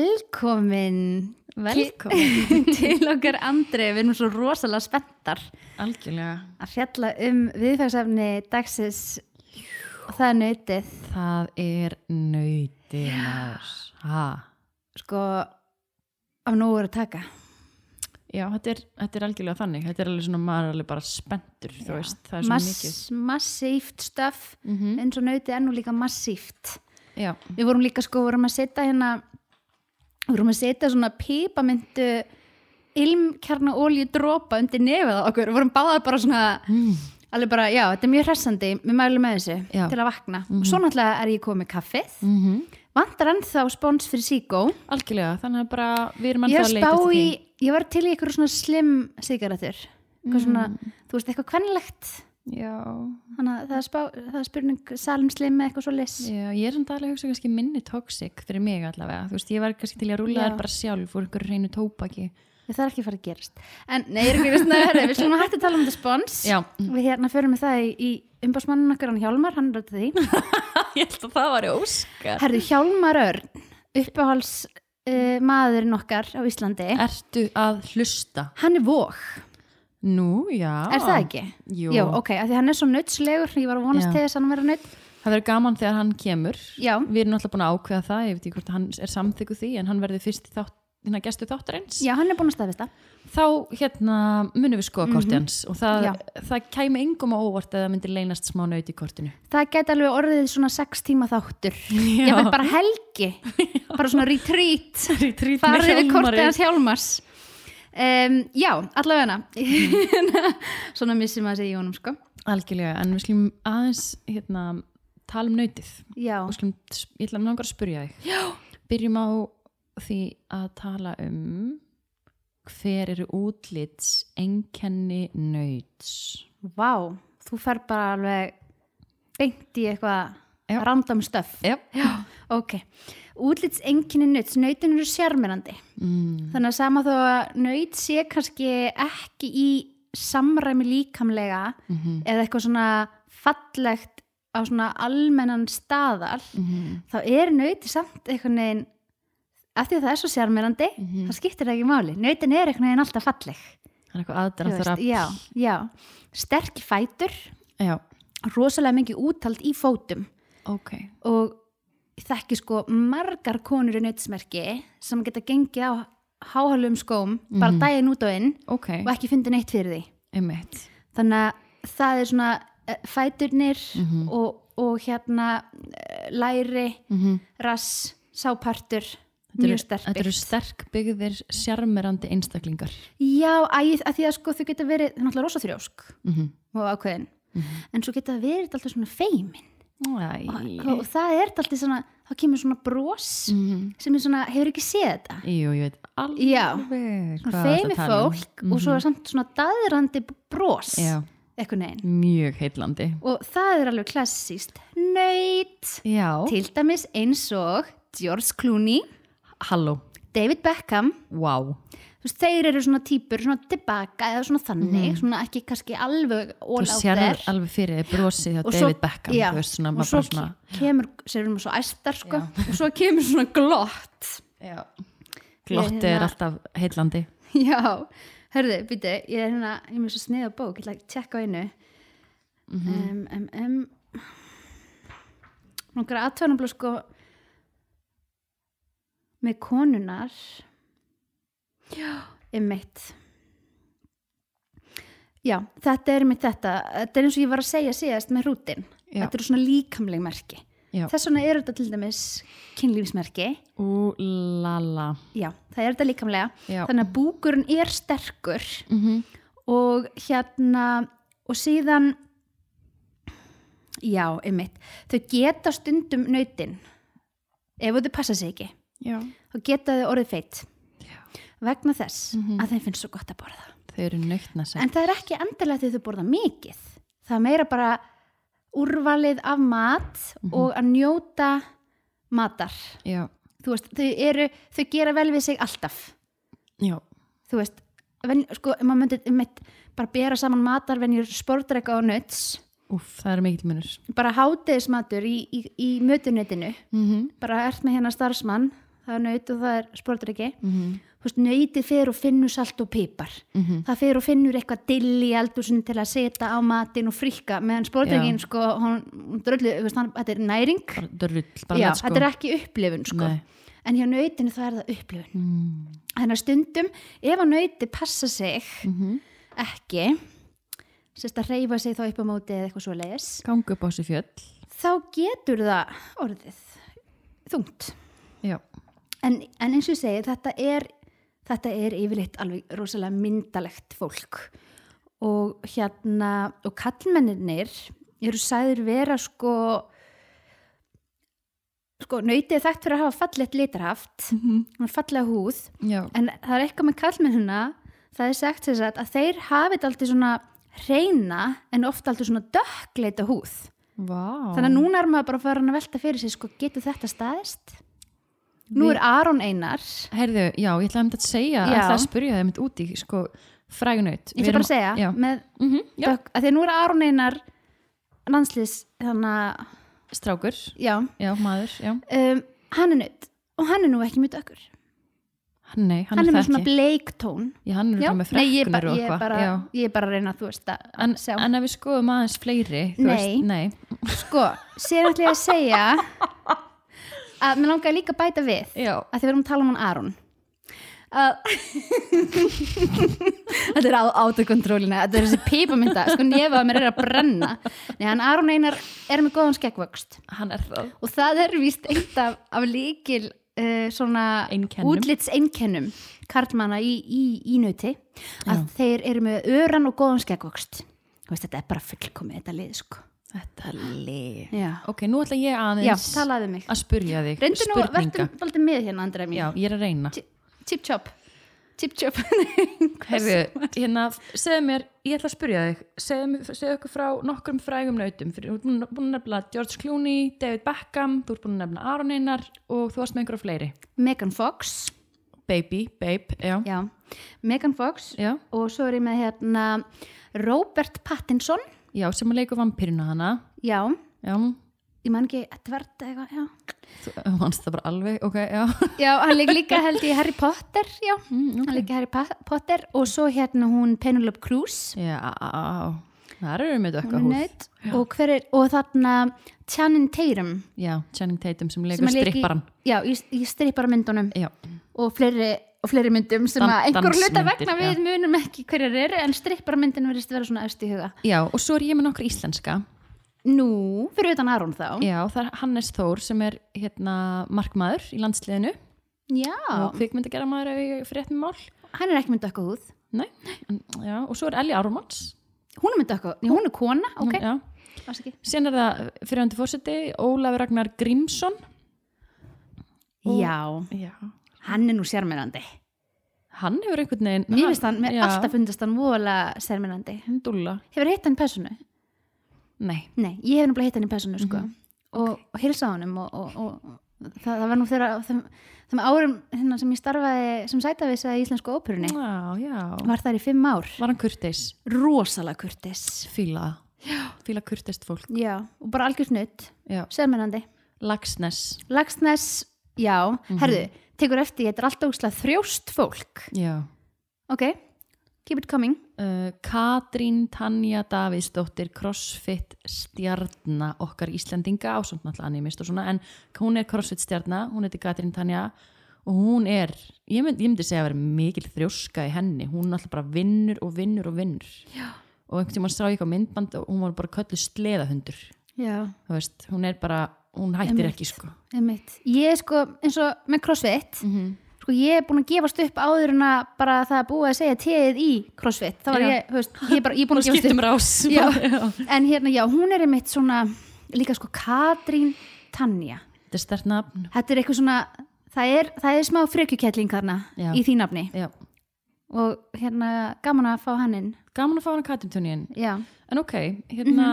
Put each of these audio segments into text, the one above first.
Velkomin Velkomin. Ki- Til okkar Andri, við erum svo rosalega spenntar Algjörlega. að fjalla um viðfægsefni dagsins og það er nautið Það er nöytið maður. Ha. sko af nógur að taka Já, þetta er, þetta er algjörlega þannig. Þetta er alveg svona, maður er alveg bara spenntur, þú veist, það er svo mikið. massíft stöf Mm eins og nautið er nú líka massíft Já. við vorum líka sko, vorum að setja hérna við vorum að setja svona pípamyndu ilmkjarna ólju dropa undir nefið á okkur, við vorum báðar bara svona alveg bara, já, þetta er mjög hressandi við mælum með þessu Mm. Já. Mhm. til að vakna og svo náttúrulega er ég komið kaffið Mm vantar ennþá spons fyrir Sigó Algjörlega, þannig að bara við erum ég ennþá að leita spá eftir í, því. ég var til í eitthvað svona slim sigarættur eitthvað svona, Mm. þú veist, eitthvað kvennlegt Já. þannig að það er, spá, það er spurning salm slim eða eitthvað svo lis Já, ég er samt alveg að hugsa kannski minni tóksik fyrir mig allavega. Þú veist, ég var kannski til í að rúla Já. þær bara sjálf úr einhverju reynu tópaki. það er ekki farið að gerast en nei, ég er ekki veist að herri, við slumum hægt að tala um þetta spons Já. við hérna förum með það í, í umbásmannin okkar hann Hjálmar, hann rötta því ég held að það var í óskar. herri, Hjálmar Örn, uppáhals uh, maðurinn okkar á Íslandi Ertu að hlusta? hann er vók, Nú, já. er það ekki? Ah. Jú. Já, ok, af því hann er svo nöttslegur ég var að vonast Já. til þess að hann vera nött Það verður gaman þegar hann kemur. Já. Við erum alltaf búin að ákveða það, ég veit ekki hvort hann er samþykku því, en hann verður fyrst í þátt, hérna gestu þáttarins. Já, hann er búin að staðfesta Þá hérna munum við skoða korti hans og það, Mhm. Já. það kæmi engum á óvart að það myndi leynast smá naut í kortinu. Það gæti alveg orðið svona sex tíma þáttur Já. Ég verð bara helgi Bara svona retreat Retreat með Farið við Hjálmari. kortið hans hjálmars um, Já, allavega Mm. hana Svona missir maður sig í honum sko Algjörlega, en við slum aðeins hérna, tala um nautið. Já, Og slum, ég ætla að langar að spurja þig. Já. Byrjum á því að tala um hver eru útlits enkenni nauts. vá Þú fer bara alveg beint í eitthvað Já. random stuff Yep. Já, ok Útlits enginni nöts, nötin eru sjarmirandi Mm. Þannig að sama þó að nöyt sé kannski ekki í samræmi líkamlega Mhm. eða eitthvað svona fallegt á svona almennan staðal Mhm. þá er nöyti samt einhvern veginn af því að það er svo sjarmirandi Mhm. það skiptir ekki máli, nöytin er einhvern veginn alltaf falleg Það er eitthvað Þú aðdraftur veist, já, já, sterk fætur já, rosalega mikið úthald í fótum ok og ég þekki sko margar konur í nöytismerki sem geta gengið á háhælum skóm bara Mhm. daginn út og inn Ok, og ekki fundið neitt fyrir því einmitt þannig að það er svona eh, fæturnir Mhm. og, og hérna eh, læri, rass sápartur, Þetta eru- Mhm. mjög sterk Þetta eru sterk byggðir sjarmerandi einstaklingar Já, æð, að því að sko þau geta verið, þau er náttúrulega rosa þrjósk mm -hmm. og ákveðin, Mhm. en svo geta þau verið alltaf svona feimin Æ og, og það er alltaf svona, þá kemur svona bros Mhm. sem er svona, hefur ekki séð þetta Jú, ég veit alveg Já. hvað svona það feimi tala um. fólk og svo er samt svona daðrandi bros Já, eitthvað neginn mjög heitlandi og það er alveg klassíst nöyt Já, Til dæmis eins og George Clooney, halló, David Beckham, wow þú veist, þeir eru svona típur, svona tilbaka eða svona þannig, svona ekki kannski alveg all Mhm. Þú out sér there. alveg fyrir þér brosið á Og svo- David Beckham já, Þú veist svona, og maður svo bara svona ke- kemur, sér við maður svo æstar sko, og svo kemur svona glott. já. Glotti er Hérna- alltaf heitlandi Já, hörðu, býtu, ég er hérna, ég er með svo sniða bók, ég ætla að tjekka á einu. Mm Mhm. -hmm. um, um, um, Nókara aðtöðanabla sko með konunar um mitt Já, þetta er mitt þetta þetta er eins og ég var að segja síðast með rútin Já. þetta eru svona líkamleg merki Já. þess vegna eru þetta til dæmis kynlífsmerki Ú, la la Já, það er þetta líkamlega Já. þannig að búkurinn er sterkur mm Mhm. -hmm. og hérna og síðan já, einmitt þau geta stundum nautin ef þau passa sig ekki Já þá geta þau orðið feitt Já. Mhm. vegna þess að þeim finnst svo gott að borða Þau eru nautna sem en það er ekki endilega því þau borða mikið það er meira bara úrvalið af mat Mhm. og að njóta matar Já, þú veist, þau, eru, þau gera vel við sig alltaf já, þú veist, ven, sko, ef maður myndi einmitt, bara bera saman matarvenjur sportreika og nuts, úf, það er mikill munur bara hátiðismatur í, í, í mötunutinu, mm -hmm. Mhm. bara ert með hérna starfsmann, það það er naut og það er spordryggi mm -hmm. þú veist, nautið fer og finnur salt og pipar Mm -hmm. það fer og finnur eitthvað dill í eldúsinu til að setja á matinn og frikka meðan spordryggin, Já. sko, hún, hún dröllu, þú veist, hann, þetta er næring bara dörrull, bara Já, með, sko. þetta er ekki upplifun, sko Nei. en hjá nautinu það er það upplifun mm þannig að stundum, ef að nauti passa sig -hmm. ekki sérst að reyfa sig þá upp á móti eða eitthvað svo leiðis gangu upp á þessu fjöll þá getur það orðið þungt já, en, en eins og ég segi þetta er þetta er yfirleitt alveg rosalega myndalegt fólk og hérna og kallmennir eru sæður vera sko sko nautið er þekkt fyrir að hafa fallegt litarhaft hún er fallega húð já. en það er eitthvað með kallmennina það er sagt þess að, að þeir hafi þetta aldrei svona reyna en ofta aldrei svona dökkleita húð Vá. þannig að núna er maður bara farin að velta fyrir sig sko getur þetta staðist? Nú Við- er Aron Einar Herðu, já, ég ætlaði einmitt að segja Já. að það spyrja það einmitt út í sko, frægunaut ég ætla bara að segja Mhm. já. með mm já, dökk, að því að nú er Aron Einar landslis þannig að, strákur, já já, maður já. um, hann er nött og hann er nú ekki mjög dökkur Hann, nei, hann, hann er er með það svona ekki bleiktón já, hann er Já, bara með nei, ég, ba frekkunir og ég, eitthvað bara, já. ég er bara að reyna að þú veist að en, sjá. en ef við skoðum aðeins fleiri þú Nei. veist, nei. Sko, sér ætla ég að segja að mér langar líka að bæta við Já. að þið verðum að tala um hann Aron að þetta er á autokontrólina þetta er þessi pípamynda, sko nefað mér er að brenna Nei, hann Aron Einar er með góðan skeggvöxt hann er það og það er víst eitt af, af líkil uh, svona Einkennum. útlitseinkennum karlmanna í, í, í nöti að þeir eru með öran og góðan skeggvöxt Þú veist, þetta er bara fullkomið þetta lið sko þetta lið Já. ok, nú ætla ég Já, aðeins talaðu við mig að spyrja þig Reyndu nú, spurninga verðum alltaf með hérna, Andra mín já, ég er að reyna Tip-chop Tip-chop Herðu, hérna, segðu mér, ég ætla að spyrja þig, segðu, mér- segðu okkur frá nokkrum frægum nautum, fyrir þú ert búin- búin að nefna George Clooney, David Beckham, þú ert búin að nefna Aron Einar og þú varst með einhverja fleiri. Megan Fox Baby, babe, já, já, Já, Megan Fox já, Og svo er ég með hérna Robert Pattinson sem að leiku vampirinu hana, Já, já, ég man ekki Edward eða eitthvað, já þú vannst það bara alveg, ok, já, Já, hann leik líka held ég í Harry Potter Já, Mm, hann leik í Harry Pa- Potter Og svo hérna hún Penelope Cruz já, það eru við með dökka Hún er húð. nödd. og, hver er, og þarna Channing Tatum Já, Channing Tatum sem sem að leikur leik í- stripparan, Já, í, í stripparamyndunum já, og fleiri, og fleiri myndum sem Dan- að einhver hluta dansmyndir, vegna já. við munum ekki hverjar eru en stripparmyndin verðist vera svona öst í huga já, og svo er ég með nokkra íslenska. Nú, fyrir utan Aron þá Já, það er Hannes Þór sem er hérna markmaður í landsliðinu og Já, kvikmyndagerra maður ef ég frétt með mál hann er ekki með dökka húð Nei, en- já, og svo er Ellie Ármanns Hún er með dökka, já, hún er kona, ok já. afsakið. síðan er það fyrirhandi fórseti Ólafur Ragnar Grímsson Og- Já, já. hann er nú sérmennandi hann hefur einhvern veginn Mér finnst hann, mér já, alltaf fundast hann voðalega sérmennandi hann dúlla, Hefur hitt hann í personu? nei Nei, ég hef nefnilega hitt hann í personu, sko og, og hilsa honum og, og, og, og það, það var nú þegar á þeim, þeim árum hérna, sem ég starfaði sem sætavisa í Íslensku óperunni já, já. var þar í fimm ár var hann kurteis, rosalega kurtis fíla fíla kurteist fólk já, og bara algjör snutt, já. sérmennandi Lagsnes Lagsnes, já, herðu tekur eftir, þetta er alltaf úrslega þrjóst fólk já. ok, keep it coming Uh, Katrín Tanja Davidsdóttir crossfit stjarna okkar Íslendinga ásönd náttúrulega animist og svona en hún er crossfit stjarna, hún heitir Katrín Tanja og hún er, ég, mynd, ég myndi segja að vera mikil þrjóska í henni hún náttúrulega bara vinnur og vinnur og vinnur Já. og einhvern tímann sá ég eitthvað á myndband og hún var bara köllu sleðahundur já, þú veist, hún er bara, hún hættir Einmitt. ekki sko einmitt ég er sko, eins og með crossfit sko ég er búin að gefast upp áður en að bara það er búið að segja teðið í crossfit, þá var Já. ég, þú veist ég er, bara, ég er búin Hún að gefast upp skiptum rás Já. Já. en hérna, já, hún er einmitt svona líka sko Katrín Tanja þetta er stert nafn þetta er eitthvað svona, það er, það er smá frekjukettling þarna Já. í þínafni Já. og hérna gaman að fá hann inn gaman að fá hana Katrín Tunnin já, En ok, hérna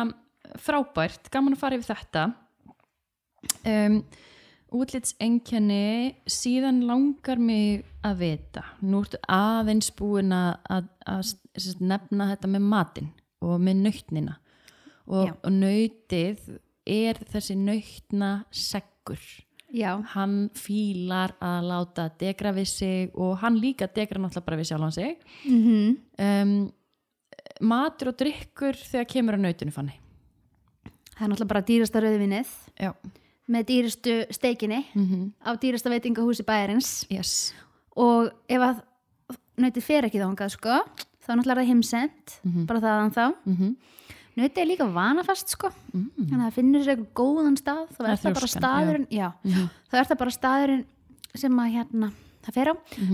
frábært, gaman að fara yfir þetta. Um, Útlitsengjenni, síðan langar mig að vita. Nú ertu aðeins búin að, að, að sem sagt, nefna þetta með matinn og með nautnina. Og, Já. og nautið er þessi nautna seggur. já, hann fílar að láta degra við sig og hann líka degra náttúrulega bara við sjálfan sig mm um, matur og drykkur þegar kemur að nautinu fanni það er náttúrulega bara dýrasta rauðvinnið já með dýrastu steikinni mm á dýrasta veitingahúsi bæjarins yes. og ef að nautið fer ekki þangað sko, þá náttúrulega er það heimsend bara það að hann þá mm -hmm. nautið er líka vanafast sko þannig að það finnur sér eitthvað góðan stað þá Það er er það bara þrjóskan, staðurinn já. þá er það bara staðurinn sem að hérna, það fer á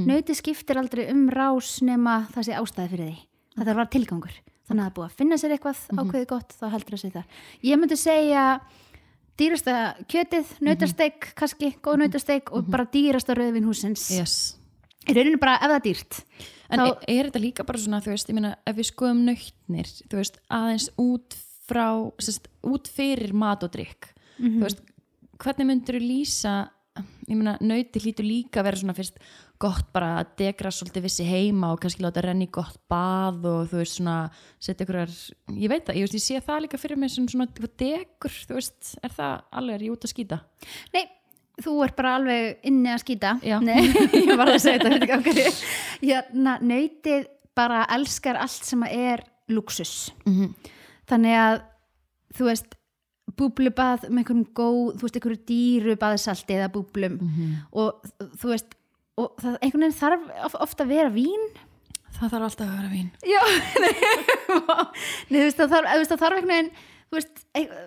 nautið skiptir aldrei um rás nema það sé ástæði fyrir því það þarf að vera tilgangur þannig að það er búið að finna sér eitthvað ákveðið gott þá heldur það sér þar ég myndi segja dýrasta kjötið, nautasteik kannski, góð nautasteik og bara dýrasta rauðvin húsins yes. í rauninu bara ef það er dýrt en e- Þá- er, er þetta líka bara svona þú veist, ég meina, ef við skoðum nautnir þú veist, aðeins út frá sest, út fyrir mat og drykk þú veist, hvernig myndur lýsa ég meina, nauti hlýtur líka að vera svona fyrst gott bara að degra svolítið vissi heima og kannski láta renni gott bað og þú veist svona setja ykkur, ég veit það, ég, veist, ég sé það líka fyrir mig sem svona eitthvað degur, þú veist er það alveg, er ég út að skýta? Nei, þú ert bara alveg inni að skýta. Já. Nei, ég var alveg að segja þetta, veit ekki af hverju. Hérna, nautið bara elskar allt sem er luxus. Mm -hmm. Þannig að, þú veist, búblubað með einhverjum góð, þú veist, einhverju dýru baðsalti eða búblum Mhm. og þú veist, og það, einhvern veginn þarf of- oft að vera vín. Það þarf alltaf að vera vín Já, nei, nei, þú veist, það þarf, þú veist, það þarf einhvern veginn, þú veist, ein,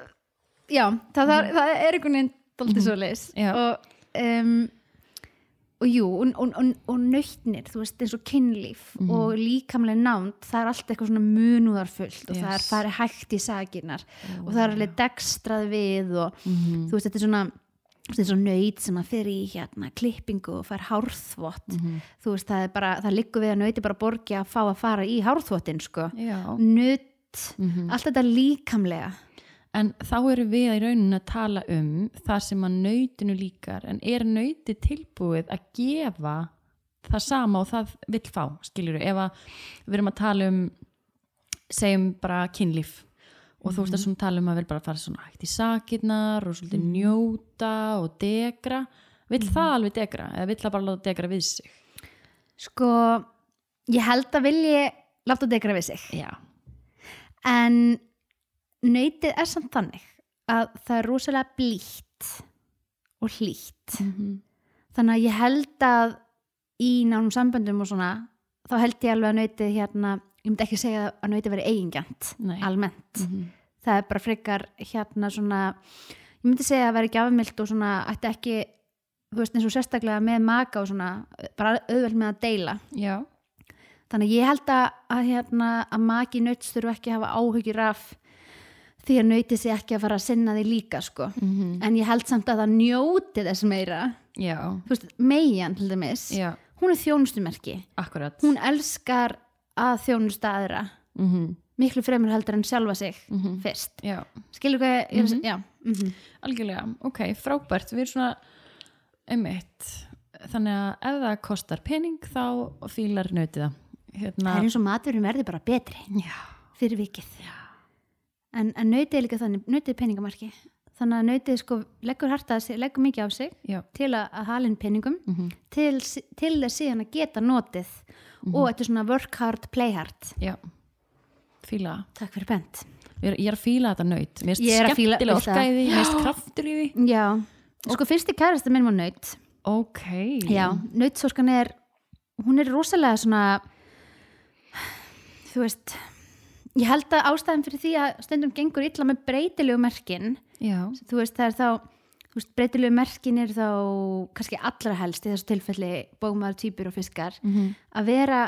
já, það, þarf, það er einhvern veginn dóltið svo leis Mm. Já. og, um, og jú, og, og, og, og nautnir, þú veist, eins og kynlíf Mm. og líkamlega nánd, það er allt eitthvað svona munúðarfullt og það er Yes. farið hægt í saginnar og það er alveg dekstrað við og Mhm. þú veist, þetta er svona, þetta er svona nöyt sem að fer í hérna klippingu og fær hárþvott Mhm. þú veist, það er bara, það liggur við að nöyti bara borgi að fá að fara í hárþvottin sko. Já. Mhm. nutt allt þetta líkamlega En þá erum við í rauninu að tala um það sem að nautinu líkar en er nauti tilbúið að gefa það sama og það vill fá, skilur ef að við erum að tala um segjum bara kynlíf og þú veist að svona tala um að vel bara fara svona hægt í sakirnar og svolítið njóta og degra vill það alveg degra eða vill það bara láta degra við sig sko, ég held að vilji láta degra við sig Já, en nöytið er samt þannig að það er rosalega blítt og hlýtt Mhm. þannig að ég held að í nánum samböndum og svona þá held ég alveg að nöytið hérna ég myndi ekki segja að nöytið veri eigingjant nei almennt Mhm. það er bara frekar hérna svona ég myndi segja að vera gjafamilt og svona ætti ekki, þú veist eins og sérstaklega með maka og svona, bara auðveld með að deila, Já, þannig að ég held að, að hérna, að maki nauts þurfu ekki að hafa áhugir af því að nauti sig ekki að fara að sinna því líka sko, Mhm. en ég held samt að það njóti þess meira, já, þú veist megin til dæmis, já, hún er þjónustumerki akkurat hún elskar að þjónusta aðra, mm miklu fremur heldur en sjálfa sig Mhm. fyrst, Já, skilur hvað ég, mm -hmm. já, mm algjörlega, ok, frábært við erum svona einmitt, þannig að ef það kostar pening þá fílar nautið það hérna, Það er eins og maturinn verði bara betri já, fyrir vikið. já En, en nautið er líka þannig, nautið er peningamarki. Þannig að nautið sko leggur harta, leggur mikið á sig Já, til að, að halin peningum, mm -hmm. til, s- til þess síðan að geta notið og þetta er svona work hard, play hard. já fíla, það. Takk fyrir bent. ég er, ég er að fíla þetta naut mér Ég er finnst að fíla- skemmtilega veist orka það. í því, mér finnst kraftur í því Já, sko fyrsti kærasta minn var naut. ok, Já, nautsorkan er, hún er rosalega svona, þú veist, ég held að ástæðan fyrir því að stundum gengur illa með breytilegu merkinn já, þú veist það er þá þú veist, breytilegu merkin er þá kannski allra helst í þessu tilfelli bómaður, týpur og fiskar mm -hmm. að vera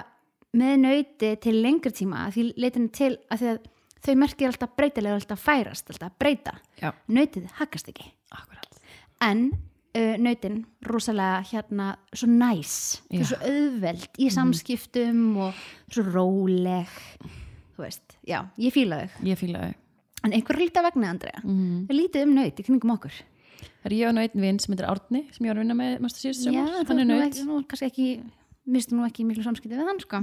með nauti til lengri tíma að því leitinu til að því að þau merkið er alltaf breytilega alltaf færast, alltaf breyta já, nautið hakkast ekki akkurat en uh, nautin rosalega hérna svo næs þau Já. Mhm. eru svo auðveld í samskiptum og svo róleg þú veist, já, ég fíla þau ég fíla þau en einhver lítið vegna, Andrea mm -hmm. er lítið um naut í kringum okkur Það er ég og nú einn vinn sem heitir Árni sem ég var að vinna með mæstu síðust Já, sömur, þú hann ert er nú naut ekki- nú kannski ekki mistu nú ekki í miklu samskipti við hann sko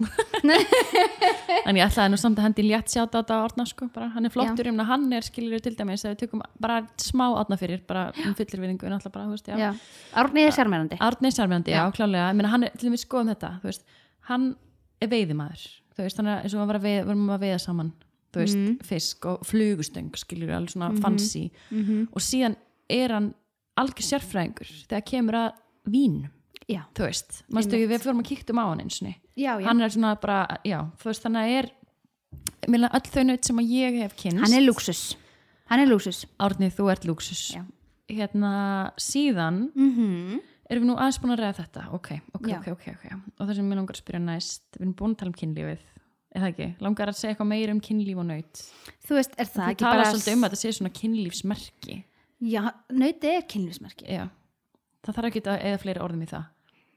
en ég ætlaði nú samt að hendi létt sjátt á þetta orðna sko, bara hann er flottur, ég meina hann er skilur til dæmis að við tökum bara smá orðna fyrir, bara um fullir vinningu náttúrulega bara, þú veist, já, Já. Árni er sérmærandi Arnei Sarmjandi, já, klálega Ég meina, hann er, til við skoðum þetta, þú veist hann er veiðimaður, þú veist hann er eins og hann var að veið, varum að veiða saman þú veist, fisk og flugustöng skilur alveg svona fancy og síðan er hann algjör sérfræðingur þegar kemur að vín Já, þú veist, manstu ekki við fórum að kíktum á hann eins og já, já. hann er svona bara, já, þú veist þannig að er meðlega öll þau nöitt sem að ég hef kynst hann er lúksus Hann er lúksus Árni, þú ert lúksus Já. hérna, síðan mm Mhm. -hmm. erum við nú aðeins búin að ræða þetta ok, ok, Já. ok, ok, ok og það sem mér langar að spyrja næst, við erum búin að tala um kynlífið er það ekki, langar að segja eitthvað meira um kynlíf og nöyt Þú veist, er það það ekki tala bara svolítið um að þetta sé svona kynlífsmerki Já, nöyti er kynlífsmerki já, það þarf ekki að eða fleiri orðum í það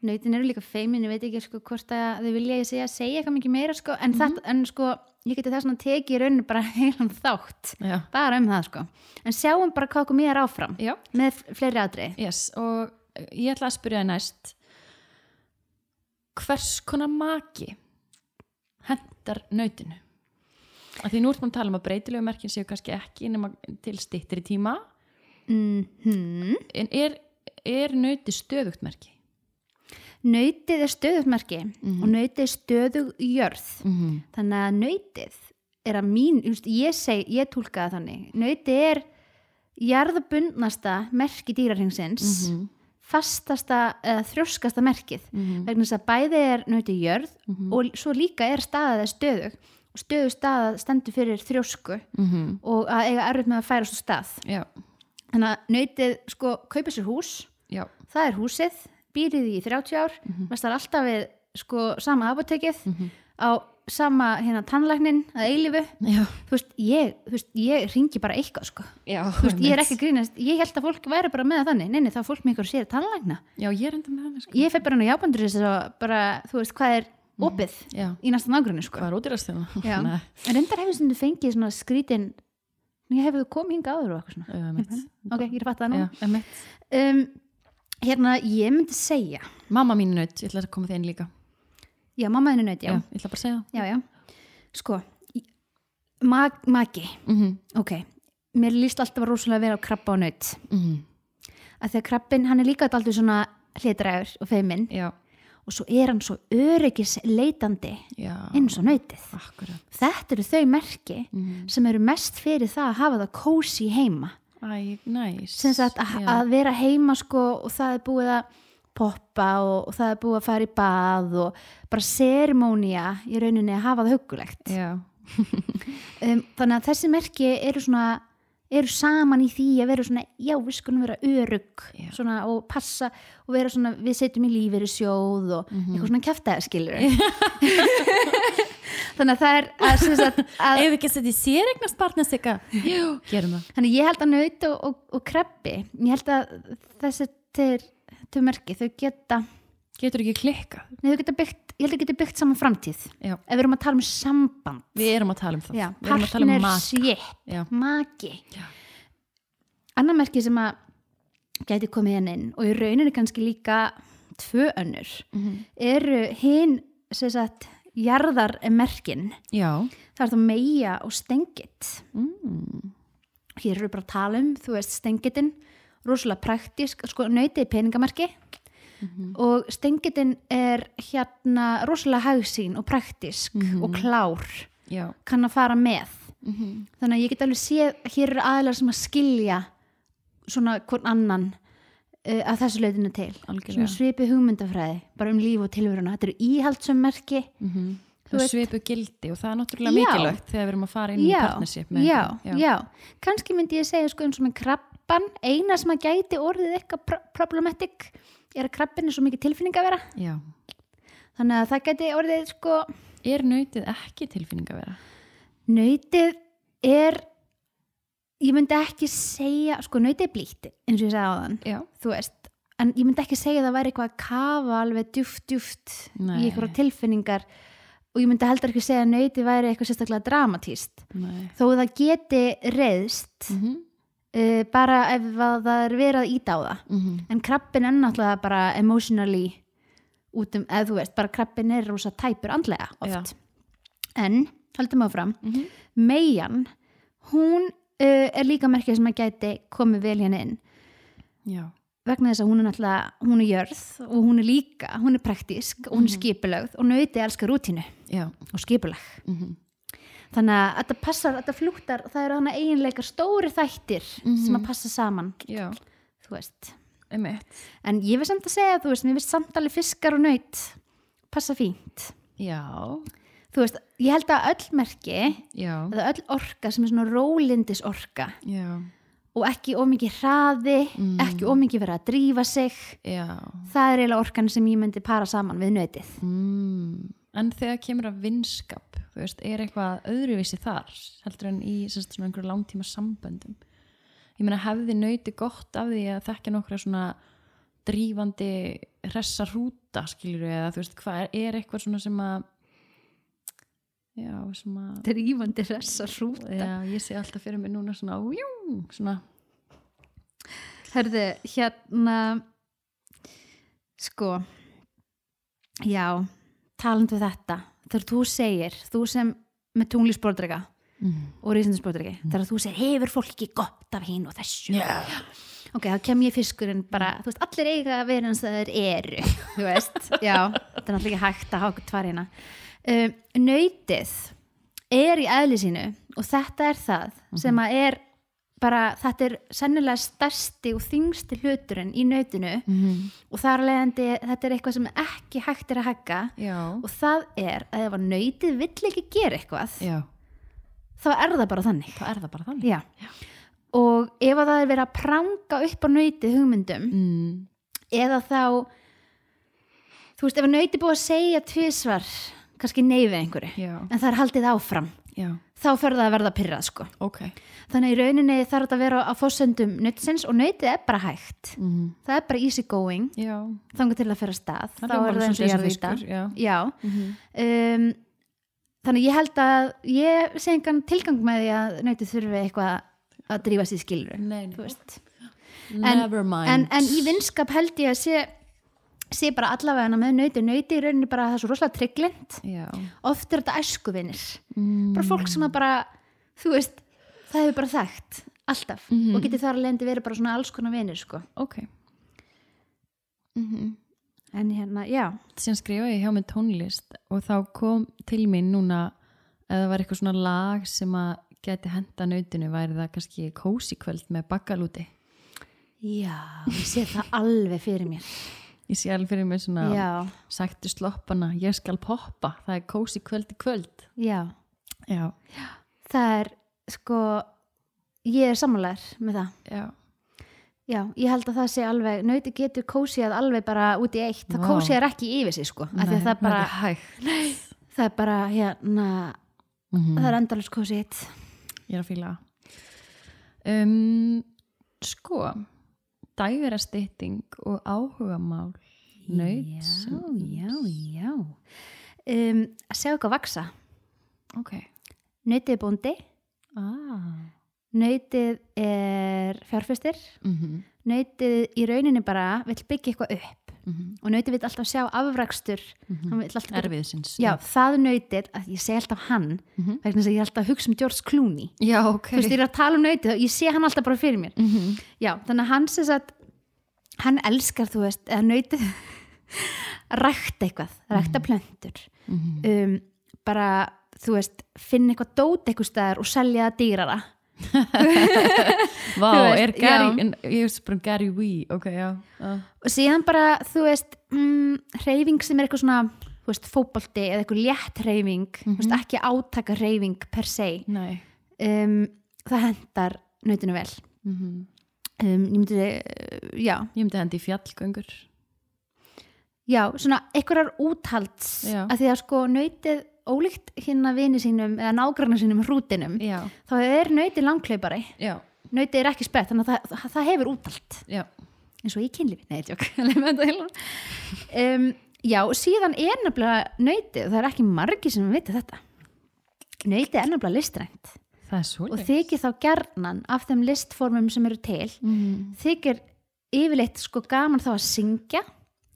Nöytin eru líka feimin, ég veit ekki sko hvort að þau vilja ég segja, segja eitthvað mikið meira sko en, þetta, en sko, ég geti þess að tekið í rauninu bara heilan þátt já, bara um það sko, en sjáum bara hvað okkur mér áfram já, með f- fleiri aðrið yes og eh, ég ætla að spyrja það næst hvers konar maki hendar nöytinu að því nú erum við að tala um að breytilegu merkin séu kannski ekki nema til stittri tíma mm En er, er nöyti stöðugt merki? Nöytið er stöðutmerki Mhm. og nöytið er stöðug jörð Mm -hmm. þannig að nöytið er að mín, just, ég, seg, ég tólka það þannig nöytið er jarðabundnasta merki dýrarhengsins fastasta eða þrjóskasta merkið vegna þess að bæði er nöytið jörð og svo líka er staðað eða stöðug og stöðug staðað stendur fyrir þrjósku og að eiga erfitt með að færa svo stað Mhm. Já, þannig að nöytið sko kaupa sér hús já, það er húsið, býrið í 30 ár mm -hmm. mestar alltaf við sko sama apotekið á sama hérna tannlæknin að eilifu já, þú veist, ég, þú veist, ég ringi bara eitthvað sko, já, þú veist, ég er ekki að grínast ég held að fólk væri bara með það þannig, neini þá er fólk með ykkur sér tannlækna, Já, ég er enda með hann sko. ég fer bara nú jábandur þess að bara, þú veist, hvað er opið Já, í næsta nágrunni sko hvað er útirast þérna? Já. Nei, en reyndar hefur sem þú fengið svona skrítin ég hefur komið hinga áður og eitthvað svona uh, mitt ok, ég er að fatta það nú Já, eh, mitt um, hérna, ég myndi segja Mamma mín er nöyt, ég ætla að koma þeim líka já, mamma þínu nöðt, já. ég ætla bara að segja það já, já, sko í- mag, magi, mm -hmm. ok mér líst alltaf rosalega vel á krabba og nöðt Mm -hmm. að því að krabbin, hann er líka alltaf svona hlitræður og feiminn Já, og svo er hann svo öryggis leitandi já eins og Mhm. nöytið. Akkurat Þetta eru þau merki sem eru mest fyrir það að hafa það kósi heima. Æ, næs Sem sagt að, Já. að vera heima sko og það er búið að poppa og, og það er búið að fara í bað og bara sermónia í rauninni að hafa það hugulegt. Já, Um, þannig að þessi merki eru svona eru saman í því að vera svona já við skulum vera örugg Já. svona, og passa og vera svona við setjum í lífið í sjóð og Mhm. eitthvað svona kæftæða þannig að það er að, sem sagt, að, ef ekki að setja sér eignast barnast eitthvað Jú, gerum það þannig að ég held að naut og, og, og krabbi ég held að þessi til, til merki þau geta, Getur ekki klikka nei, þau geta byggt, ég held að þau geta byggt saman framtíð Já. ef við erum að tala um samband Við erum að tala um það Já, Við erum að tala um mat partnership, Já. maki Já. annar merki sem að gæti komið hérna inn og í rauninu kannski líka tvö önnur eru hinn sem sagt jarðar merkin Já það er það meia og stengit mm. hér eru bara að tala um, þú veist stengitin rosalega praktisk, sko nöytið er peningamarki og stengitin er hérna rosalega hagsýn og praktisk og klár Já, kann að fara með þannig að ég get alveg séð að hér eru aðlar sem að skilja svona hvern annan uh, að þessu leitinu til algjörlega svona svipi hugmyndafræði, bara um líf og tilveruna þetta eru íhaldsum merki mm -hmm. Mhm. Þú það veist- svipu gildi og það er náttúrulega Já. mikilvægt þegar við erum að fara inn í partnership með já, einhverjum. já, kannski myndi ég segja sko um svona krabban eina sem að gæti orðið eitthvað pro problematic er að krabbin er svo mikið tilfinning að vera já. þannig að það gæti orðið sko er nöytið ekki tilfinning að vera nöytið er ég myndi ekki segja sko nöytið er blítt eins og ég sagði á þann já, þú veist en ég myndi ekki segja að það væri eitthvað að kafa alveg djúft djúft Nei. í einhverja tilfinningar og ég myndi heldur ekki segja að nöyti væri eitthvað sérstaklega dramatíst nei þó það geti reyðst mm -hmm. uh, bara Mhm. ef að það er verið að íta á það en krabbin er náttúrulega bara emotionally út um, eða þú veist, bara krabbin er rosa tæpur andlega oft Já. en, haldum áfram Mhm. Meian, hún uh, er líka merkið sem að gæti komið vel hérna inn já, vegna þess að hún er náttúrulega, hún er jörð og hún er líka, hún er praktísk og hún er skipulögð og nöyti elskar rútínu já, og skipulag Mhm. þannig að þetta passar, þetta flúttar það eru þannig eiginleika stóri þættir sem að passa saman, já, þú veist emitt en ég vil samt að segja, þú veist, mér finnst samtali fiskar og nöyt passa fínt já, þú veist, ég held að öll merki já, eða öll orka sem er svona rólindis orka já og ekki ómikið hraði, ekki ómikið verið að drífa sig já, það er eiginlega orkan sem ég myndi para saman við nöytið mm. en þegar kemur að vinskap þú veist, er eitthvað öðruvísi þar heldur en í sem sagt, svona einhverju langtíma samböndum ég meina hefði nöyti gott af því að þekka nokkra svona drífandi hressa rúta skilur við eða þú veist hvað er, er eitthvað svona sem að já sem að drífandi ressa rúta já, ég sé alltaf fyrir mig núna svona, jú, svona hörðu, hérna sko já talandu þetta, þegar þú segir þú sem með tunglísbordrega mm. og rísindinsbordregi, þegar þú segir hefur fólk ekki gott af hinn og þessu yeah. ok, þá kem ég fiskurinn bara, þú veist, allir eiga að vera eins og þeir eru, þú veist, já, þetta er náttúrulega ekki hægt að hafa okkur tvar hérna. Um, nöytið er í eðli sínu og þetta er það Mhm. sem að er bara, þetta er sennilega stærsti og þingsti hluturinn í nöytinu mm. og þar af leiðandi, þetta er eitthvað sem ekki hægt er að hækka já, og það er að ef að nöytið vill ekki gera eitthvað, já þá er það bara þannig. þá er það bara þannig Já. Og ef að það er verið að pranga upp á nöytið hugmyndum mm. eða þá þú veist, ef að nöyti búið að segja tvisvar, kannski nei við einhverju já, en það er haldið áfram já, þá fer það að verða pyrrað sko ok þannig að í rauninni þarf þetta að vera á fósöndum nöytisins og nöytið er bara hægt mm. það er bara easy going, já, þangar til að fyrir stað Mhm. Það þá hljómar er það eins og svolítið ég er þetta fiskur, já. já, um, þannig að ég held að ég sé engan tilgang með því að nöytið þurfi eitthvað að drífa sér skilur Nei, nei. þú veist never mind en, en í vinskap held ég að sé, sé bara allavega hana með nöyti nöyti í rauninni bara að það er svo rosalega trygglind já, oft er þetta æskuvinir mm. bara fólk sem að bara, þú veist það hefur bara þekkt, alltaf og getur þar að lendi verið bara svona alls konar vinir sko. ok mm -hmm. en hérna, já sem skrifaði ég hjá með tónlist og þá kom til mín núna eða það var eitthvað svona lag sem að geti henda nautinu væri það kannski kósi kvöld með bakkalúti já, ég sé það alveg fyrir mér ég sé alveg fyrir mig svona já, Sættu sloppana, ég skal poppa, það er kósi kvöld í kvöld. já, Já, það er sko ég er sammálar með það já. Já, ég held að það sé alveg, nöyti getur kósið alveg bara út í eitt, það Vá. kósið er ekki yfir sig sko, af því að það bara, er hægt. það er bara hérna, Mm það er endalus kósið eitt. Ég er að fíla. það. Um, sko, dægurastýtting og áhugamál nöyt. Já, já, já. Um, að segja eitthvað vaksa, Ok. nöytið er bóndi, Ah. nöytið er fjárfestir, Mm -hmm. nöytið í rauninni bara vill byggja eitthvað upp Mm -hmm. og nöytið vill alltaf sjá afrakstur, hann vill alltaf Erfiðsins. Já, það nöytið, að ég segi alltaf hann, Mhm. vegna þess að ég er alltaf að hugsa um George Clooney. Já, ok. Þú veist, ég er að tala um nöytið og ég sé hann alltaf bara fyrir mér. mm -hmm. Já, þannig að hann sem sagt, hann elskar, þú veist, eða nöytið að rækta eitthvað, rækta plöntur. mhm. Um, bara, þú veist, finna eitthvað dót eitthvað staðar og selja það dýrara. Vá, þú veist, er Gary, já. en, ég veist bara um Gary Wee, ok, já. Uh. Og síðan bara, þú veist, mm, hreyfing sem er eitthvað svona, þú veist, fótbolti eða eitthvað létt hreyfing, þú veist, ekki átaka hreyfing per se. Nei. Um, það hendar nöytinu vel. Mm Um, ég myndi, uh, já, Ég myndi hendi í fjallgöngur. Já, svona einhverjar úthalds Já. að því að sko nöytið ólíkt hérna vini sínum eða nágrannar sínum hrútinum, Já. þá er nöytið langklaupari, Já, nöytið er ekki sprett þannig að það, það hefur úthald já. eins og í kynlífi, nei, tjók um, Já, síðan er nefnilega nöytið, og það er ekki margi sem viti þetta nöytið er nefnilega listrænt Það er svo og þykir þá gernan af þeim listformum sem eru til Mm. þykir yfirleitt sko gaman þá að syngja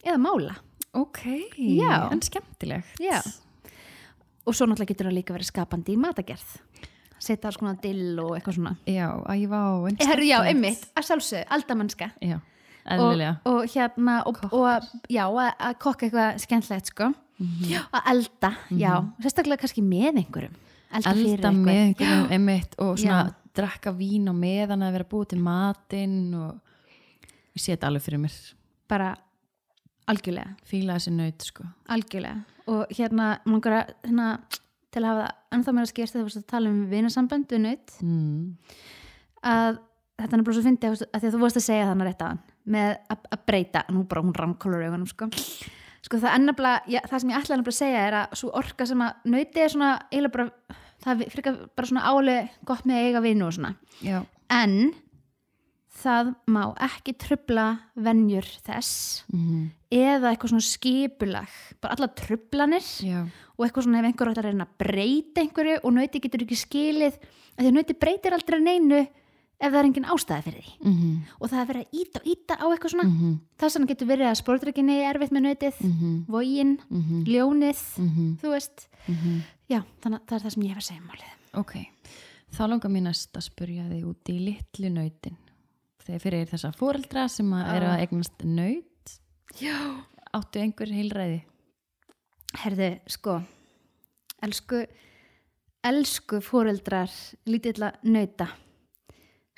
eða mála ok, Já. en skemmtilegt Já. og svo náttúrulega getur það líka verið skapandi í matagerð setja alls konar dill og eitthvað svona já, að ég var á Herru, já, einmitt, að sjálfsög, aldamannska já, og, eðlilega og hérna og, og já, að að kokka eitthvað skemmtlegt sko, já, að elda já, sérstaklega kannski með einhverjum elda, fyrir elda einhvern. með einhverjum einmitt og svona Já. drakka vín á meðan að vera búið til matinn og ég sé þetta alveg fyrir mér bara algjörlega, fíla þessi nöyt sko algjörlega og hérna, mangur að hérna, til að hafa það ennþá meira skýrst þegar þú varst að tala um vinasambönd við naut mm. að þetta er bara svo fyndi að því að þú vorst að segja þannig rétt aðan með að, að breyta, nú bara hún ramkólur augunum sko. sko það ennabla já, það sem ég ætla ennabla að segja er að svo orka sem að nöyti er svona eiginlega bara það er frekar bara svona áleg gott með að eiga vinu og svona já, en það má ekki trubla venjur þess mm. eða eitthvað svona skipulag bara alla trublanir já. og eitthvað svona ef einhver ætlar að reyna að breyta einhverju og nöyti getur ekki skilið af því að nöyti breytir aldrei neinu ef það er engin ástæði fyrir því Mm -hmm. og það er verið að íta og íta á eitthvað svona Mm mm. þess vegna getur verið að spórdrykkinni er erfitt með nöytið mm. vógin, Mhm. ljónið þú veist, já þannig að það er það sem ég hef að segja um málið ok, þá langar mér næst að spurja þig út í litlu nöytin þegar fyrir þessa fóreldra sem að eru Ah. að eignast nöyt Já. áttu einhver heilræði Herðu, sko elsku elsku fóreldrar lítilla nöyta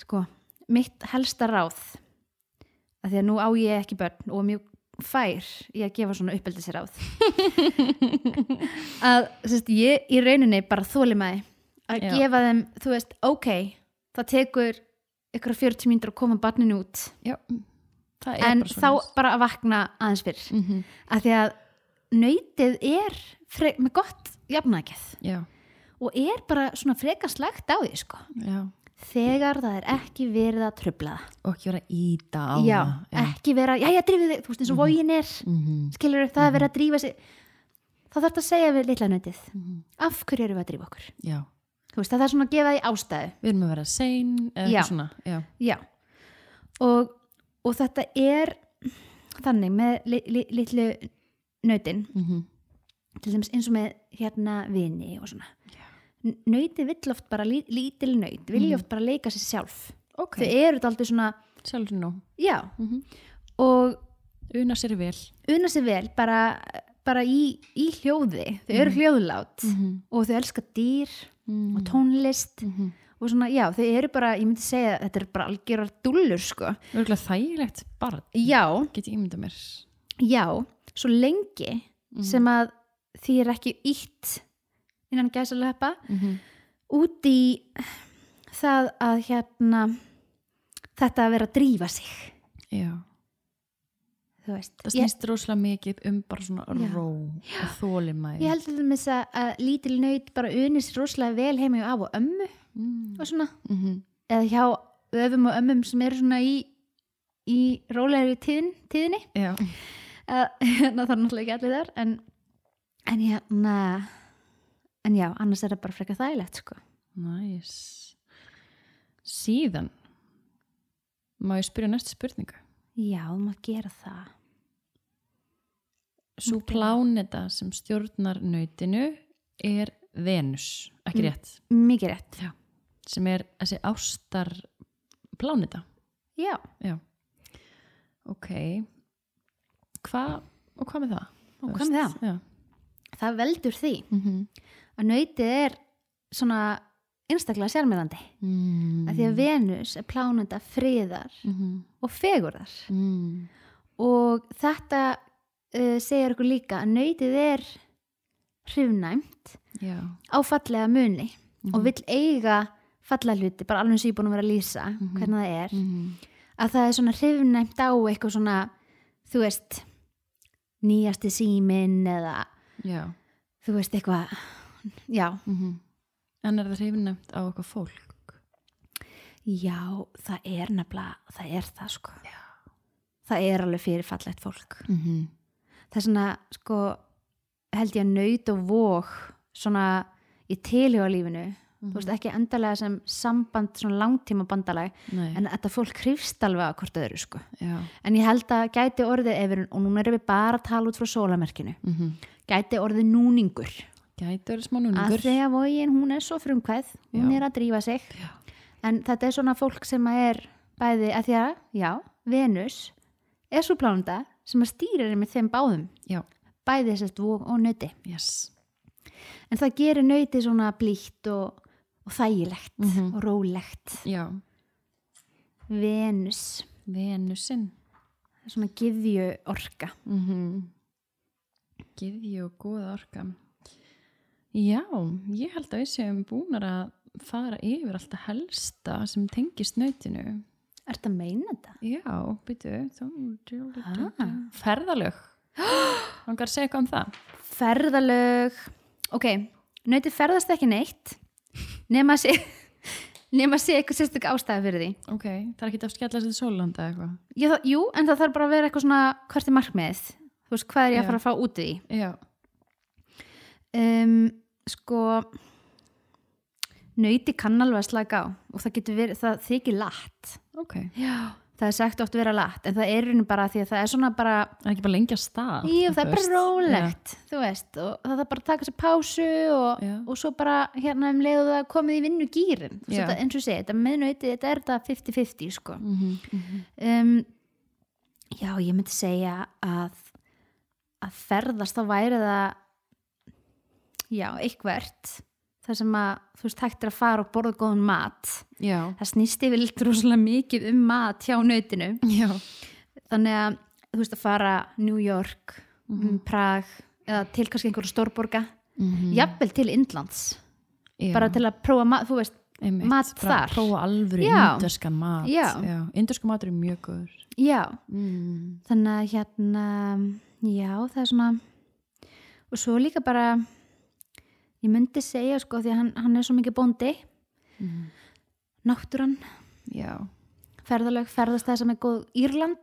sko, mitt helsta ráð af því að nú á ég ekki börn og er mjög fær í að gefa svona uppeldisráð að sérst, ég í rauninni bara þóli maði að Já. gefa þeim, þú veist, ok það tekur ykkur 40 mínútur að koma barninu út já, mm. það er en bara þá bara að vakna aðeins fyrr mm að því að nöytið er frek, með gott jafnækjað já, og er bara svona frekar slagt á því sko. já þegar það er ekki verið að trubla það og ekki vera að íta á já, það ekki verið að, já, já, drifið þig þú veist eins og vógin er, Mhm. skilur það er verið að drífa sig þá þarf að segja við litla nöytið af hverju erum við að drífa okkur já, þú veist, það er svona að gefa því ástæðu við erum að vera sein eða Já. eitthvað svona, já, Já, og, og þetta er þannig með li, li, litlu nöytin Mhm. til dæmis eins og með hérna vini og svona N- Nautið vill oft bara, lí, lítil nöyt vilja oft bara leika sér sjálf Mhm. ok, þau eru þetta aldrei svona, sjálfur nú já Mhm. og una sér vel unna sér vel bara, bara í, í hljóði þau eru hljóðlát Mhm. og þau elska dýr Mhm. og tónlist Mhm. og svona, já, þau eru bara, ég myndi segja þetta eru bara algjörar dúllur, sko örgulega þægilegt barn, Já, get ég ímynda mér já, svo lengi Mhm. sem að því er ekki ítt innan gæsalöpa Mhm. út í eh, það að hérna þetta að vera að drífa sig já, þú veist það ég, snýst rosalega mikið um bara svona Já. ró og þólimæði ég held til þess að, að lítil nöyt bara unis rosalega vel heima hjá af og ömmu mm. og svona, mm eða hjá öfum og ömmum sem eru svona í í rólegri tíðin, tíðinni já, að, hérna, það er náttúrulega ekki allir þar en, en hérna en já, annars er það bara frekar þægilegt sko næs síðan má ég spyrja næstu spurningu Já, þú maður gera það. svo pláneta sem stjórnar nautinu er Venus, ekki rétt Mikið rétt. sem er þessi ástar pláneta Já. já. ok hvað og hvað með það? Og hvað með það? Já. Það veldur því Mm að nöytið er svona einstaklega sérmiðandi. Mm. Því að Venus er plánenda friðar Mm. Mhm. og fegurðar. Og þetta uh, segir okkur líka að nöytið er hrifnæmt já, á fallega muni Mhm. og vill eiga fallega hluti, bara alveg eins og ég er búin að vera að lýsa hvernig það er. Mhm. Mm. að það er svona hrifnæmt á eitthvað svona, þú veist nýjasti síminn eða já. Mhm. þú veist eitthvað já, en er það hreifinæmt á eitthvað fólk já, það er nefnilega það er það sko já. það er alveg fyrir fallegt fólk -hmm. það er svona, sko held ég að nöyt og vók svona í tilhjóðalífinu þú veist ekki endalega sem samband svona langtíma bandalag Mhm. Nei, en þetta fólk hrifst alveg að hvort öðru sko. já. en ég held að gæti orðið efir, og núna erum við bara að tala út frá sólamerkinu Mm gæti orðið núningur, Gæti verið smá að núningur. þegar vógin hún er svo frumkvæð, hún Já. er að drífa sig Já. en þetta er svona fólk sem að er bæði, að því að, já, Venus er svo plánunda sem að stýrir með þeim báðum, Já, bæði þessast vóg og nöti yes. en það gerir nöti svona blítt og, og þægilegt Mhm. og rólegt Já, Venus, Venusinn. það er svona gifju orka Mm -hmm. Gyði og góða orka. Já, ég held að við séum búnar að fara yfir alltaf helsta sem tengist nautinu. Ertu að meina þetta? Já, byrju, Ha? þú... Ferðalög. Hann að segja eitthvað um það. Ferðalög Ok, nöti ferðast ekki neitt nema að sé nema að sé eitthvað sérstök ástæða fyrir því Ok, það er ekki að skella sér til Sólanda eða eitthvað. Ég, þá- Jú, en það þarf bara að vera eitthvað svona hvert er markmiðið, þú veist, hvað er ég Já. að fara að fá út í Já, um, Sko nöti kann alveg að slaka á og það getur verið, það þykir látt ok. Já Það er sagt oft vera látt, en það er í rauninni bara því að það er svona bara, Það er ekki bara lengja stað. jú, það þú er bara veist. rólegt, þú veist, og það er bara að taka sér pásu og, Já. og svo bara hérna um leiðu það komið í vinnu gýrin Já. þetta, eins og ég segi, þetta meðnauti, þetta er þetta 50-50 sko Já. Mhm, mhm. um, já, ég myndi segja að að ferðast þá væri það já, eitthvert þar sem að, þú veist, hægt er að fara og borða góðan mat Já. það snýst yfir litur rosalega mikið um mat hjá nautinu Já. þannig að, þú veist, að fara New York, mm Prag eða til kannski einhverja stórborga Mhm. jafnvel til Indlands Já. bara til að prófa mat, þú veist, Einmitt, mat bara þar. prófa alvöru Já. indverskan mat Já. indverskan matur er mjög góður já mm. þannig að hérna já, það er svona og svo líka bara ég myndi segja sko, því að hann, hann er svo mikið bóndi Mhm. náttúran, já ferðalög, ferðast það sem er góð Írland,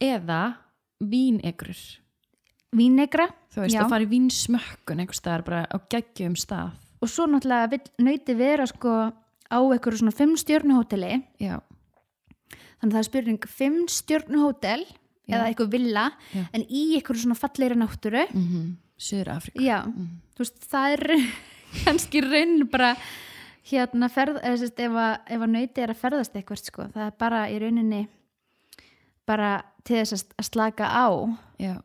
eða vínegrur vínegra þú veist Já. að fara í vínsmökkun einhvers staðar bara á geggjum stað og svo náttúrulega vill nöyti vera sko á einhverju svona fimm stjörnuhóteli já, þannig að það er spurning fimm stjörnuhótel Já. eða einhver villa Já. en í einhverju svona falleiri náttúru mm -hmm. Suður Afríku já, Mm. þú veist, það er kannski raun bara hérna ferð, eða sérst ef að, ef að nöyti er að ferðast eitthvað sko, það er bara í rauninni bara til þess að- að slaka á já,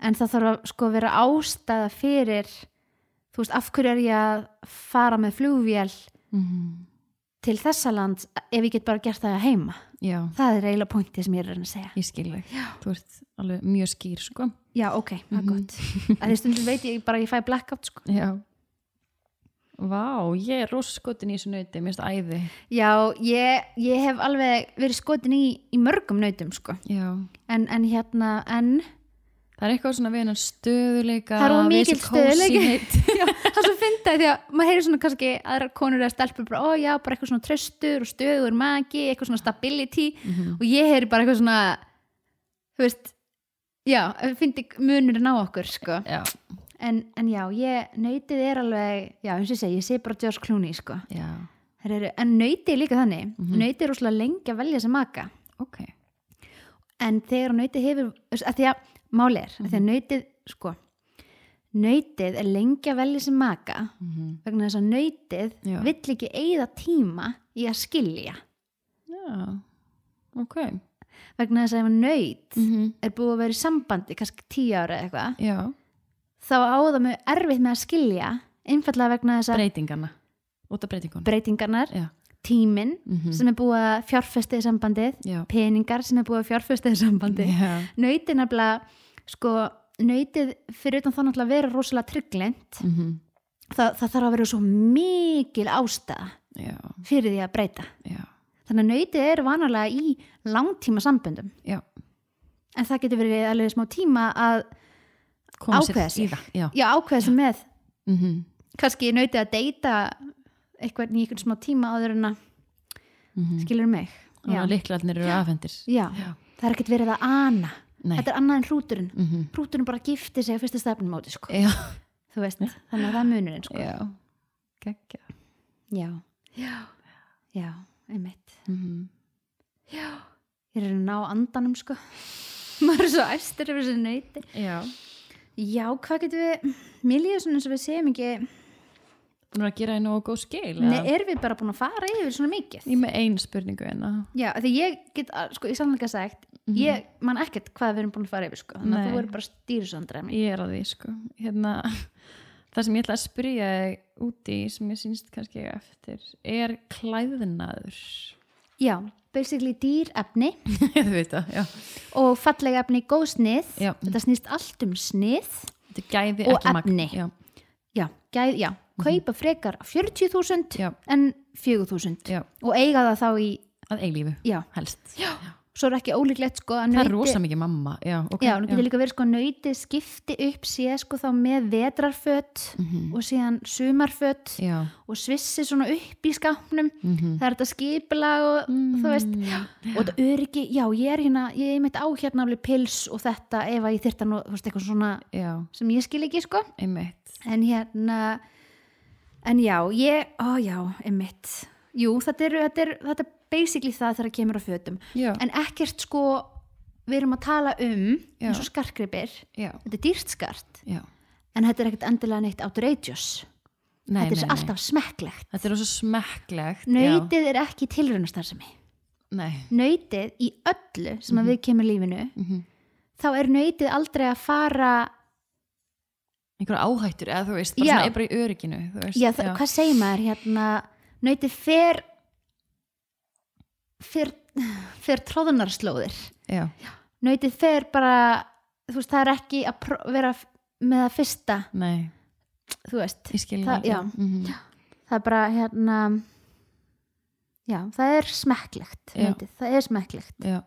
en það þarf að sko vera ástæða fyrir þú veist, af hverju er ég að fara með flugvél mm til þessa land ef ég get bara gert það heima já. það er eiginlega pointið sem ég er að reyna að segja ég skil þig þú ert alveg mjög skýr sko já, ok, það er Mhm. gott að því stundum veit ég bara að ég fæ blackout sko já Vá, ég er roskotin í þessu nöyti, mér finnst það æði. já, ég, ég hef alveg verið skotin í, í mörgum nautum sko Já. en, en hérna, en Það er eitthvað svona við hennar stöðuleika, Það er of við mikill þessi kósí stöðugleiki. heitt. já, það er svo fyndið af því að maður heyrir svona kannski aðrar konur eða stelpur bara, ó já, bara eitthvað svona tröstur og stöður magi, eitthvað svona stability Mhm. og ég heyri bara eitthvað svona þú veist já, fyndi munurinn á okkur sko. Já, en, en já, ég, nöytið er alveg já, eins og ég segi, ég sé bara George Clooney sko. já, Þær eru, en nöytið er líka þannig mm nöytið er rosalega lengi að velja sem maka ok. en þegar nöytið hefur þú veist, að því að máli er, að því að nöytið sko, nöytið er lengi að velja sem maka Mm vegna þess að nöytið Já. vill ekki eigða tíma í að skilja Já, ok. Mm vegna þess að ef nöyt er búið að vera í sambandi kannski tíu ára eða eitthvað Já, þá á það mjög erfitt með að skilja einfallega vegna þess að breytingana. Út af breytingunum. breytingarnar, Já. tíminn Mhm. sem er búið að fjárfestið sambandið Já. peningar sem er búið að fjárfestið sambandið Já. nöytið nefnilega sko, nöytið fyrir utan þá náttúrulega að vera rosalega trygglind Mm það, það þarf að vera svo mikil ástæða Já, fyrir því að breyta já, þannig að nöytið er vanalega í langtíma samböndum já. en það getur verið alveg smá tíma að Koma Ákveða sig. í það. Já. já, ákveða sem með Mm kannski nöytið að deyta eitthvað í einhvern smá tíma áður en að skilur mig Þannig já, Mm. að líklarnir Mhm. eru afhendir. já, það er ekkert verið að ana Nei. þetta er annað en hrúturinn Mm hrúturinn bara gifti sig á Eh. fyrsta stefnum móti sko. Já. þú veist, þannig að það er munurinn sko. Já. Gekja. já, já, já, einmitt mm já, ég er að ná andanum sko maður er svo æstur yfir þessu neyti Já, já, hvað getum við, mér líður svona eins og við segjum ekki nú er að gera einu og góð skil nei, eða? erum við bara búin að fara yfir svona mikið Ég er með einu spurningu hérna já, af því ég get, að- sko, ég sannlega sagt ég man ekkert hvað við erum búin að fara yfir sko þannig Nei. að þú eru bara stýrisandræmi Ég er að því sko hérna, Það sem ég ætla að spyrja þig út í sem ég sínst kannski eiga eftir er klæðinaður Já, basically dýr efni Ég veit það, já og fallega efni góð snið Já. þetta snýst allt um snið Þetta er gæði Og ekki magn. efni. já, já, gæð, já, kaupa frekar 40.000 já, en 4.000 já, og eiga það þá í að eiglífu já, helst svo er ekki ólíklegt sko að Það er nauti- rosa mikið mamma Já, ok já, nú getur líka verið sko að nöyti skipti upp sé sko þá með vetrarföt Mhm. og síðan sumarföt já. og svissi svona upp í skapnum mhm. það er þetta skipla og Mm. þú veist og þetta öryggi, já ég er hérna ég er mitt á hérna alveg pils og þetta ef að ég þyrta nú, þú veist, eitthvað svona Já, sem ég skil ekki sko einmitt en hérna en já, ég, ó já, einmitt jú, þetta er, þetta er, þetta er basically það þegar það kemur á fötum Já, en ekkert sko, við erum að tala um Já. eins og skarkripir já, þetta er dýrt skart, já en þetta er ekkert endilega neitt outrageous, þetta Nei, er nei, svo nei. alltaf smekklegt Þetta er rosa smekklegt já. nöytið er ekki tilraunastarfsemi Nei nöytið í öllu sem að við kemur lífinu Mhm. þá er nöytið aldrei að fara Einhverja áhættur, eða þú veist, bara Já. svona er bara í örygginu þú veist, já, já. hvað segir maður hérna nöytið fer fer, fer tróðunarslóðir já, nöytið fer bara þú veist, það er ekki að pró- vera f- með það fyrsta, nei, þú veist ég skil Það- það, já. mhm. það er bara hérna já, það er smekklegt Já. nöytið, það er smekklegt já.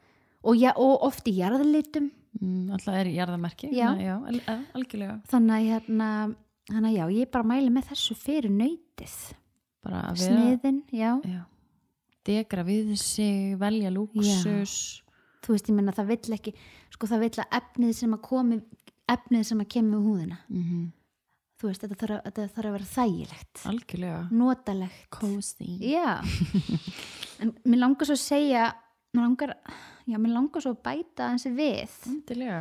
og, já, og oft í jarðlitum Mm, alltaf er jarðamerki Já. já al al algjörlega þannig að hérna þannig að já, ég bara mæli með þessu fyrir nöytið bara að vera sniðin, já já. degra við sig, velja lúksus þú veist, ég menna það vill ekki sko það vill að efnið sem að komi efnið sem að kemur húðina mm þú veist, þetta þarf, að- þetta þarf að vera þægilegt algjörlega notalegt cozy Mm. já en mér langar svo að segja mér langar, já, mér langar svo að bæta þessi við endilega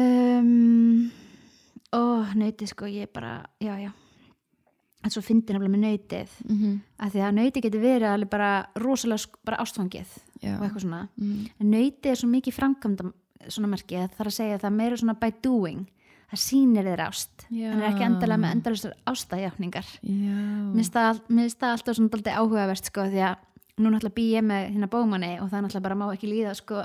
um, ó, nöyti sko, ég bara já, já en svo fyndi nefnilega með nöytið mm -hmm. af því að nöyti getur verið alveg bara rosalega sk- bara ástfangið já. og eitthvað svona Mm, En nöyti er svo mikið framkvæmda svona merki að það er að segja að það er meira svona by doing það sýnir þeir ást Já. en er ekki endalega með endalustar ástæðjáfningar já. mér finnst það alltaf svona daldið áhugavert sko því að nú náttúrulega bý ég með hérna bómanni og það náttúrulega bara má ekki líða sko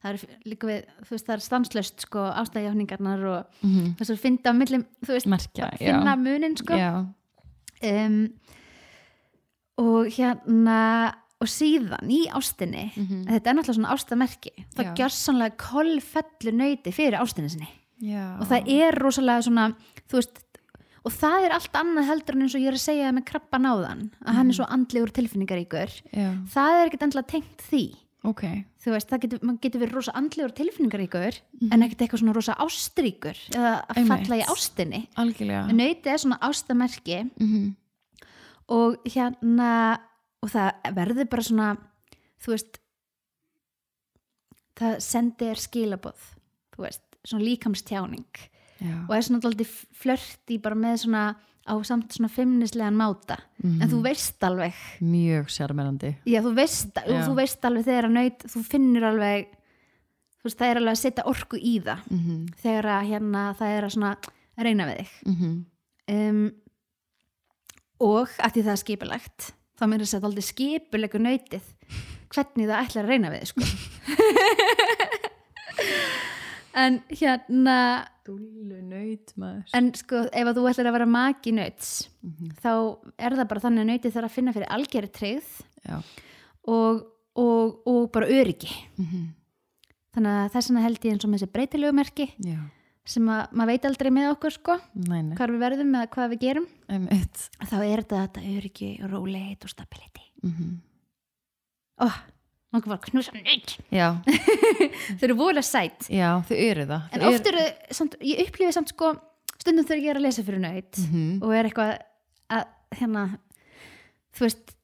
það er líka við, þú veist það er stanslöst sko ástæðjáfningarnar og mm þess að finna á millum, þú veist, merkja, já. finna munin sko já. um, og hérna og síðan í ástinni Mhm. þetta er náttúrulega svona ástamerki það Mm. Já. gjör sannlega kollfellu nöyti fyrir ástinni sinni já og það er rosalega svona þú veist, og það er allt annað heldur en eins og ég er að segja með krabba náðan að hann er svo andlegur og tilfinningaríkur Mm. já. það er ekkert endilega tengt því ok, þú veist, það getur, maður getur verið rosa andlegur og tilfinningaríkur Mhm. en ekkert eitthvað svona rosa ástríkur eða að Mm. Einmitt. falla í ástinni algjörlega ja. nöyti er svona ástamerki mm og hérna og það verður bara svona þú veist það sendir skilaboð þú veist, svona líkamstjáning já. og er svona alltaf flörti bara með svona á samt svona feimnislegan máta Mhm. en þú veist alveg mjög sérmerandi já, þú veist, Já. þú veist alveg þegar að nöyt þú finnur alveg þú veist, það er alveg að setja orku í það mm -hmm. þegar að hérna, það er að svona reyna við þig Mm um, og að því það er skipulegt þá mér er að setja aldrei skipulegu nöytið hvernig það ætlar að reyna við þig, sko. en hérna dullu nöyt maður en sko ef að þú ætlar að vera maki nöyts Mhm. þá er það bara þannig að nöytið þarf að finna fyrir algjörri tryggð já. og, og, og bara öryggi Mm -hmm. Mhm. þannig að þess vegna held ég eins og með þessi breytilegu merki já, sem að maður veit aldrei með okkur sko nei, nei hvað við verðum eða hvað við gerum einmitt þá er þetta þetta öryggi, róleit og stability mm Mhm. Ó, langar bara að knúsa nöyt. já, Þau eru voðalega sætt. já, þau eru það En Þau oft eru, samt, ég upplifi samt sko, stundum þegar ég er að lesa fyrir nöyt Mhm. og er eitthvað að, hérna, þú veist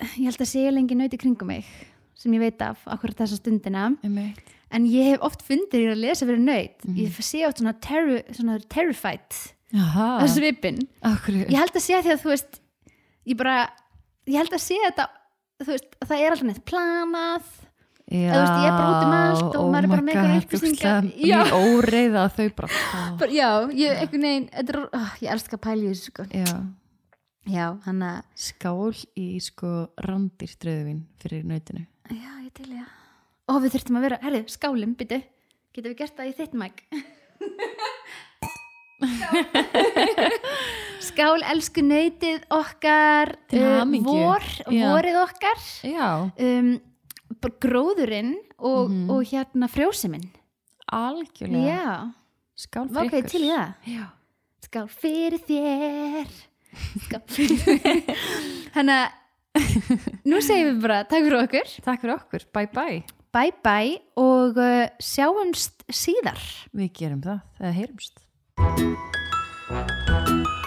ég held að segja lengi nöyti kringum mig sem ég veit af akkur þessa stundina einmitt. en ég hef oft fundir ég er að lesa fyrir nöyt Mhm. ég sé oft svona, terri, svona terrified Jaha, á svipin okkur ég held að sé því að þú veist ég bara, ég held að sé þetta þú veist, að það er alltaf neitt planað eða Já, þú veist, ég er bara út um allt og oh maður er bara my með einhverjar God, upplýsingar. ógeðslega Já. Mín óreiða að þau bara oh, bara, já, ég, einhvern veginn þetta er, oh, ég elska að pæla í þessu sko Já, já, hann að, skál í sko randir dröðvin fyrir nautinu já, ég til ég og við þurftum að vera, herri, skálum, byttu getum við gert það í þitt mæk skál, elsku nöytið okkar Til eh, hamingju. vor, Já. vorið okkar Já, um, bara gróðurinn og, Mhm. og hérna frjóseminn algjörlega já, Skál fyrir ok, til í það Já, skál fyrir þér skál fyrir þér þannig að nú segjum við bara takk fyrir okkur takk fyrir okkur, bye bye bye bye og uh, sjáumst síðar Við gerum það, eða heyrumst